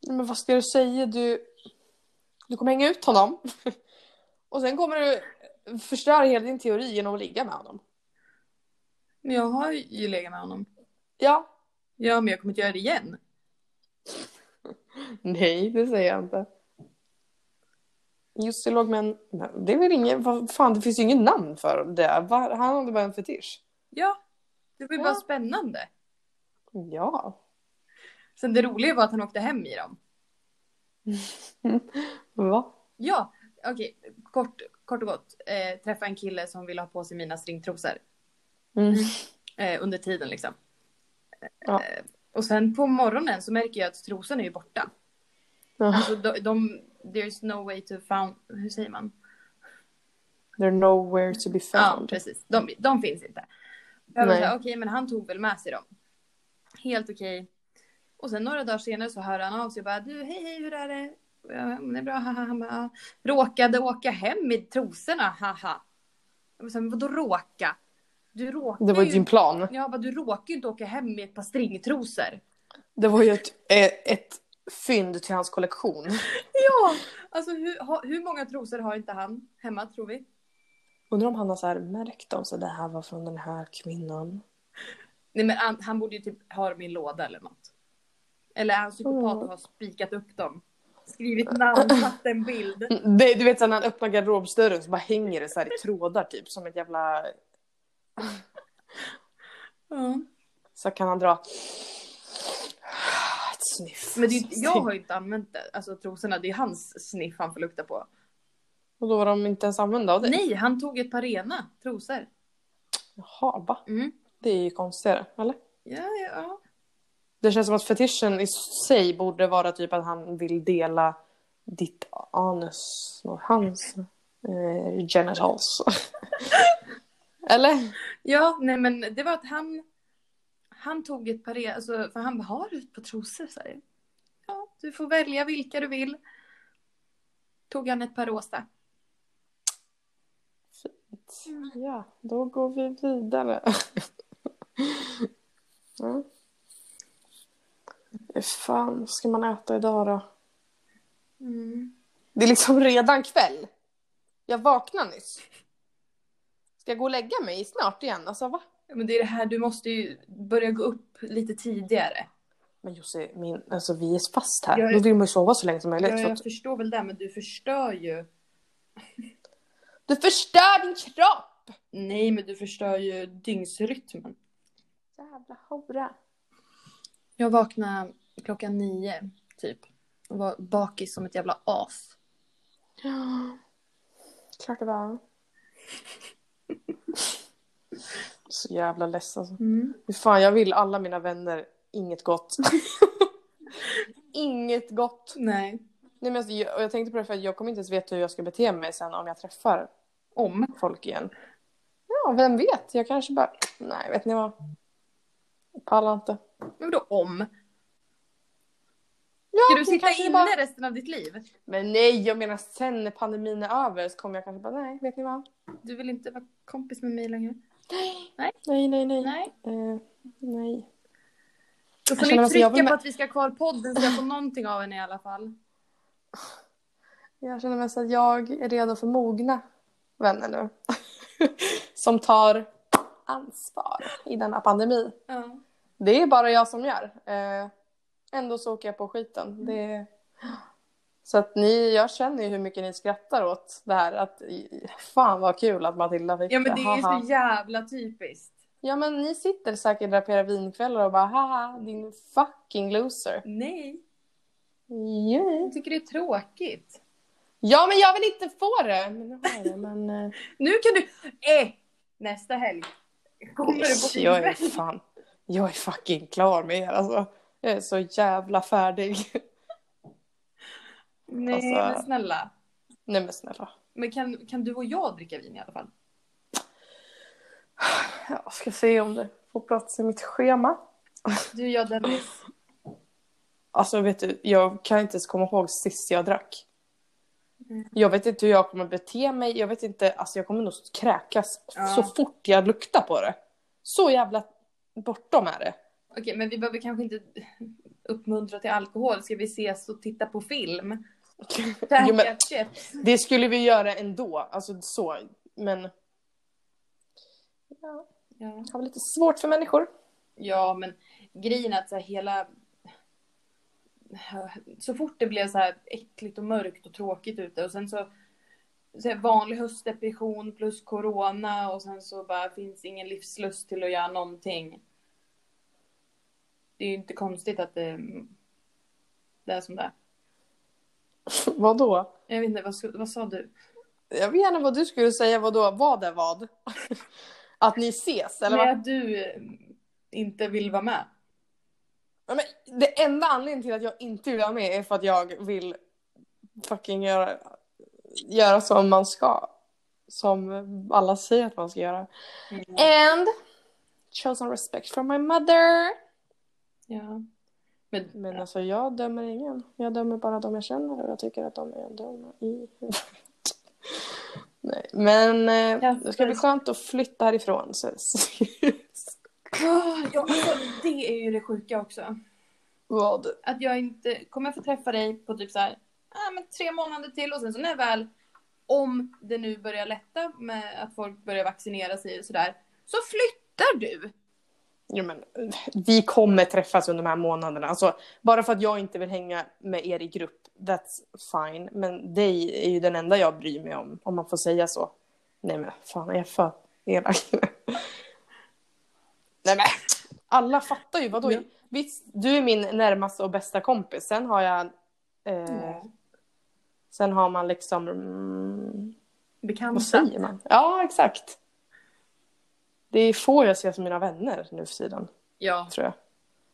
S1: Nej, men vad ska du säga? Du, du kommer hänga ut honom. (laughs) Och sen kommer du förstöra hela din teori genom att ligga med honom.
S2: Men jag har ju legat med honom.
S1: Ja.
S2: Ja men jag kommer inte göra det igen.
S1: Nej, det säger jag inte. Jussi låg med en... Nej, Det är väl ingen... Vad fan, det finns ju ingen namn för det. Va- Han hade bara en fetisch.
S2: Ja. Det var ju
S1: Ja.
S2: bara spännande.
S1: Ja.
S2: Sen det roliga var att han åkte hem i dem.
S1: Va?
S2: Ja, okej. Kort, kort och gott. Eh, träffa en kille som vill ha på sig mina stringtrosor.
S1: Mm.
S2: Eh, under tiden liksom.
S1: Ja.
S2: Eh, och sen på morgonen så märker jag att trosorna är ju borta.
S1: Ja.
S2: Alltså de, de, there's no way to found... Hur säger man?
S1: They're nowhere to be
S2: Ja,
S1: found.
S2: precis. De, de finns inte. Jag var
S1: Nej.
S2: så här, Okej, men han tog väl med sig dem. Helt okej. Och sen några dagar senare så hör han av sig och bara du, hej, hej, hur är det? Och jag, "Ja, men Det är bra, haha. Han bara, "Ja." råkade åka hem i trosorna, haha. Jag bara, så här, men vadå råka? Du råkar
S1: det var ju
S2: ju
S1: din plan.
S2: Jag bara, du råkar ju inte åka hem med ett par stringtrosor.
S1: Det var ju ett, eh, ett fynd till hans kollektion.
S2: Ja, alltså hur, ha, hur många trosor har inte han hemma tror vi?
S1: Undrar om han har så här märkt dem, så det här var från den här kvinnan.
S2: Nej men han, han borde ju typ ha dem i en låda eller något. Eller är han psykopat och har spikat upp dem? Skrivit (laughs) namn, satt en bild.
S1: Det, du vet så här, när han öppnar garderobsdörren så bara hänger det så här i trådar typ som ett jävla...
S2: Ja.
S1: Så kan han dra... Ett sniff.
S2: Men det, är ju- jag har ju inte använt det, alltså trosorna, det är hans sniff han får lukta på.
S1: Och då var de inte ens använda av det?
S2: Nej, han tog ett par rena trosor.
S1: Jaha, va?
S2: Mm.
S1: Det är ju konstigare, eller?
S2: Ja, ja, ja.
S1: Det känns som att fetischen i sig borde vara typ att han vill dela ditt anus och hans eh, genitals. (laughs) Eller?
S2: Ja, nej men det var att han, han tog ett par rena, alltså, för han bara, har du ett par trosor? Så här, ja, du får välja vilka du vill. Tog han ett par rosa.
S1: Ja, då går vi vidare. (laughs) ja. Hur fan ska man äta idag då?
S2: Mm.
S1: Det är liksom redan kväll. Jag vaknade nyss. Ska jag gå och lägga mig snart igen? Alltså va?
S2: Men det är det här, du måste ju börja gå upp lite tidigare.
S1: Men Jussi, min, alltså, vi är fast här.
S2: Jag är-
S1: Då vill man ju sova så länge som möjligt.
S2: Ja,
S1: så att...
S2: jag förstår väl det, men du förstör ju.
S1: Du förstör din kropp!
S2: Nej, men du förstör ju dygnsrytmen.
S1: Jävla hora.
S2: Jag vaknade klockan nio, typ. Och var bakis som ett jävla as.
S1: Klart det var. (laughs) Så jävla less alltså.
S2: Mm.
S1: Fy fan, jag vill alla mina vänner inget (laughs) gott. inget gott.
S2: Nej.
S1: Nej, men alltså, jag, och jag tänkte på det för att jag kommer inte ens veta hur jag ska bete mig sen om jag träffar
S2: Om.
S1: folk igen. Ja, vem vet? Jag kanske bara, nej vet ni vad? Jag pallar inte.
S2: Men då om?
S1: Ja,
S2: Ska du
S1: kanske
S2: sitta
S1: det
S2: inne
S1: bara-
S2: resten av ditt liv?
S1: Men nej, jag menar sen när pandemin är över så kommer jag kanske bara, nej, vet ni vad?
S2: Du vill inte vara kompis med mig längre?
S1: Nej, nej, nej.
S2: Nej.
S1: Eh, nej.
S2: Då
S1: Jag
S2: får
S1: känner
S2: ni
S1: att jag
S2: trycka
S1: var med-
S2: på att vi ska ha kvar podden så jag får någonting av henne i alla fall.
S1: Jag känner mest att jag är redo för mogna vänner nu. (laughs) som tar ansvar i denna pandemi.
S2: Ja.
S1: Det är bara jag som gör. Eh, ändå så åker jag på
S2: Mm.
S1: skiten. Det... Så att ni, jag känner ju hur mycket ni skrattar åt det här. Att, fan vad kul att Matilda fick
S2: ja men det är ju
S1: Haha.
S2: så jävla typiskt.
S1: Ja men ni sitter säkert där på era vinkvällar och bara haha din fucking loser.
S2: Nej,
S1: Yeah.
S2: jag tycker det är tråkigt.
S1: Ja men jag vill inte få det! Men nu har jag det men... (laughs) eh,
S2: Nu kan du... Eh! Nästa helg. Kommer du på
S1: jag är
S2: filmen?
S1: fan... Jag är fucking klar med er alltså. Jag är så jävla färdig. (laughs)
S2: Nej
S1: Alltså-
S2: men snälla.
S1: Nej men snälla.
S2: Men kan, kan du och jag dricka vin i alla fall?
S1: Jag ska se om det får plats i mitt schema.
S2: Du, jag, Dennis.
S1: Alltså vet du, jag kan inte ens komma ihåg sist jag drack.
S2: Mm.
S1: Jag vet inte hur jag kommer bete mig. Jag vet inte, alltså jag kommer nog kräkas
S2: Ja.
S1: så fort jag luktar på det. Så jävla bortom är det.
S2: Okej, men vi behöver kanske inte uppmuntra till alkohol. Ska vi ses och titta på film?
S1: Jo, men,
S2: Käka chips.
S1: det skulle vi göra ändå, alltså så. Men jag
S2: Ja.
S1: har väl lite svårt för människor.
S2: ja, men grejen är att så här, hela... Så fort det blev så här äckligt och mörkt och tråkigt ute och sen så, så här, vanlig höstdepression plus corona och sen så bara finns ingen livslust till att göra någonting. Det är ju inte konstigt att det, det är som det är.
S1: Vadå?
S2: Jag vet inte, vad, sk- vad sa du?
S1: Jag vet gärna vad du skulle säga, vadå? Vad är vad? (laughs) Att ni ses eller
S2: Nej,
S1: vad?
S2: att du eh, inte vill vara med.
S1: Ja, Men det enda anledningen till att jag inte vill vara med är för att jag vill fucking göra, göra som man ska. Som alla säger att man ska göra.
S2: Mm.
S1: And show some respect for my mother.
S2: Ja. Men
S1: Men alltså jag dömer ingen. Jag dömer bara de jag känner och jag tycker att de är dumma i huvudet. (laughs) Nej, men eh, det ska bli skönt att flytta härifrån. Så. (laughs)
S2: Ah, ja, alltså, det är ju det sjuka också.
S1: Vad?
S2: Att jag inte kommer jag få träffa dig på typ så här, ah, men tre månader till och sen så när jag väl, om det nu börjar lätta med att folk börjar vaccinera sig och sådär, så flyttar du.
S1: Jo, men, vi kommer träffas under de här månaderna. Alltså, bara för att jag inte vill hänga med er i grupp, that's fine. Men dig är ju den enda jag bryr mig om, om man får säga så. Nej men fan, är jag för elak? (laughs) Nej men, alla fattar ju. Vadå?
S2: Ja.
S1: Visst, du är min närmaste och bästa kompis. Sen har jag... Eh, sen har man liksom... Mm, vad
S2: Bekanta.
S1: säger man? Ja, exakt. Det är få jag ser som mina vänner nu för tiden
S2: Ja.
S1: tror jag.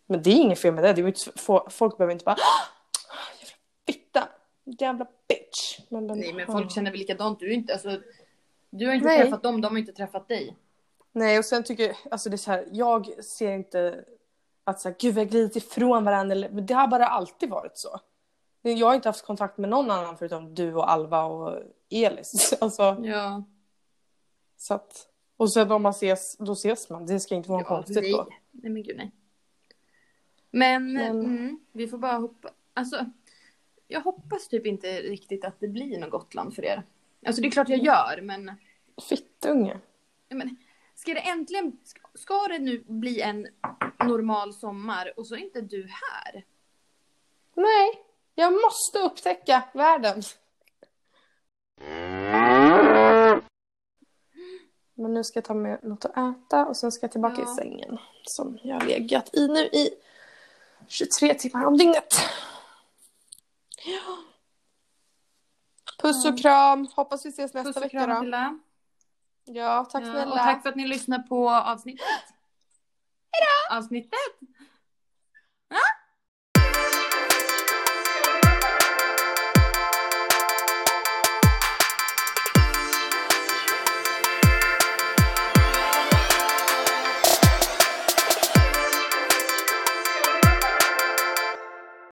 S1: Men det är inget fel med det. det är ju inte, få- folk behöver inte bara "Ah, jävla fitta, jävla bitch. Men, den-
S2: Nej men folk känner väl likadant, du är inte, alltså, du har inte
S1: Nej.
S2: träffat dem, de har inte träffat dig.
S1: Nej och sen tycker alltså det är så här, jag ser inte att så här, gud vi har glidit ifrån varandra. Eller, men det har bara alltid varit så. Jag har inte haft kontakt med någon annan förutom du och Alva och Elis. (laughs) Alltså,
S2: Ja.
S1: så att, och sen om man ses, då ses man. Det ska inte vara konstigt
S2: nej.
S1: då.
S2: Nej men gud nej. Men,
S1: Men-
S2: Mm, vi får bara hoppa. Alltså, jag hoppas typ inte riktigt att det blir något Gotland för er. Alltså det är klart jag gör men,
S1: Fittunge.
S2: jag men ska det äntligen, ska- ska det nu bli en normal sommar och så är inte du här?
S1: Nej, jag måste upptäcka världen. Men nu ska jag ta med något att äta och sen ska jag tillbaka
S2: Ja.
S1: i sängen som jag har legat i nu i 23 timmar om dygnet. Ja. Puss och kram. Hoppas vi ses nästa
S2: Puss och
S1: vecka
S2: kram
S1: då.
S2: Matilda.
S1: Ja, tack
S2: Ja,
S1: snälla.
S2: och tack för att ni lyssnar på avsnittet. Hejdå! Avsnittet!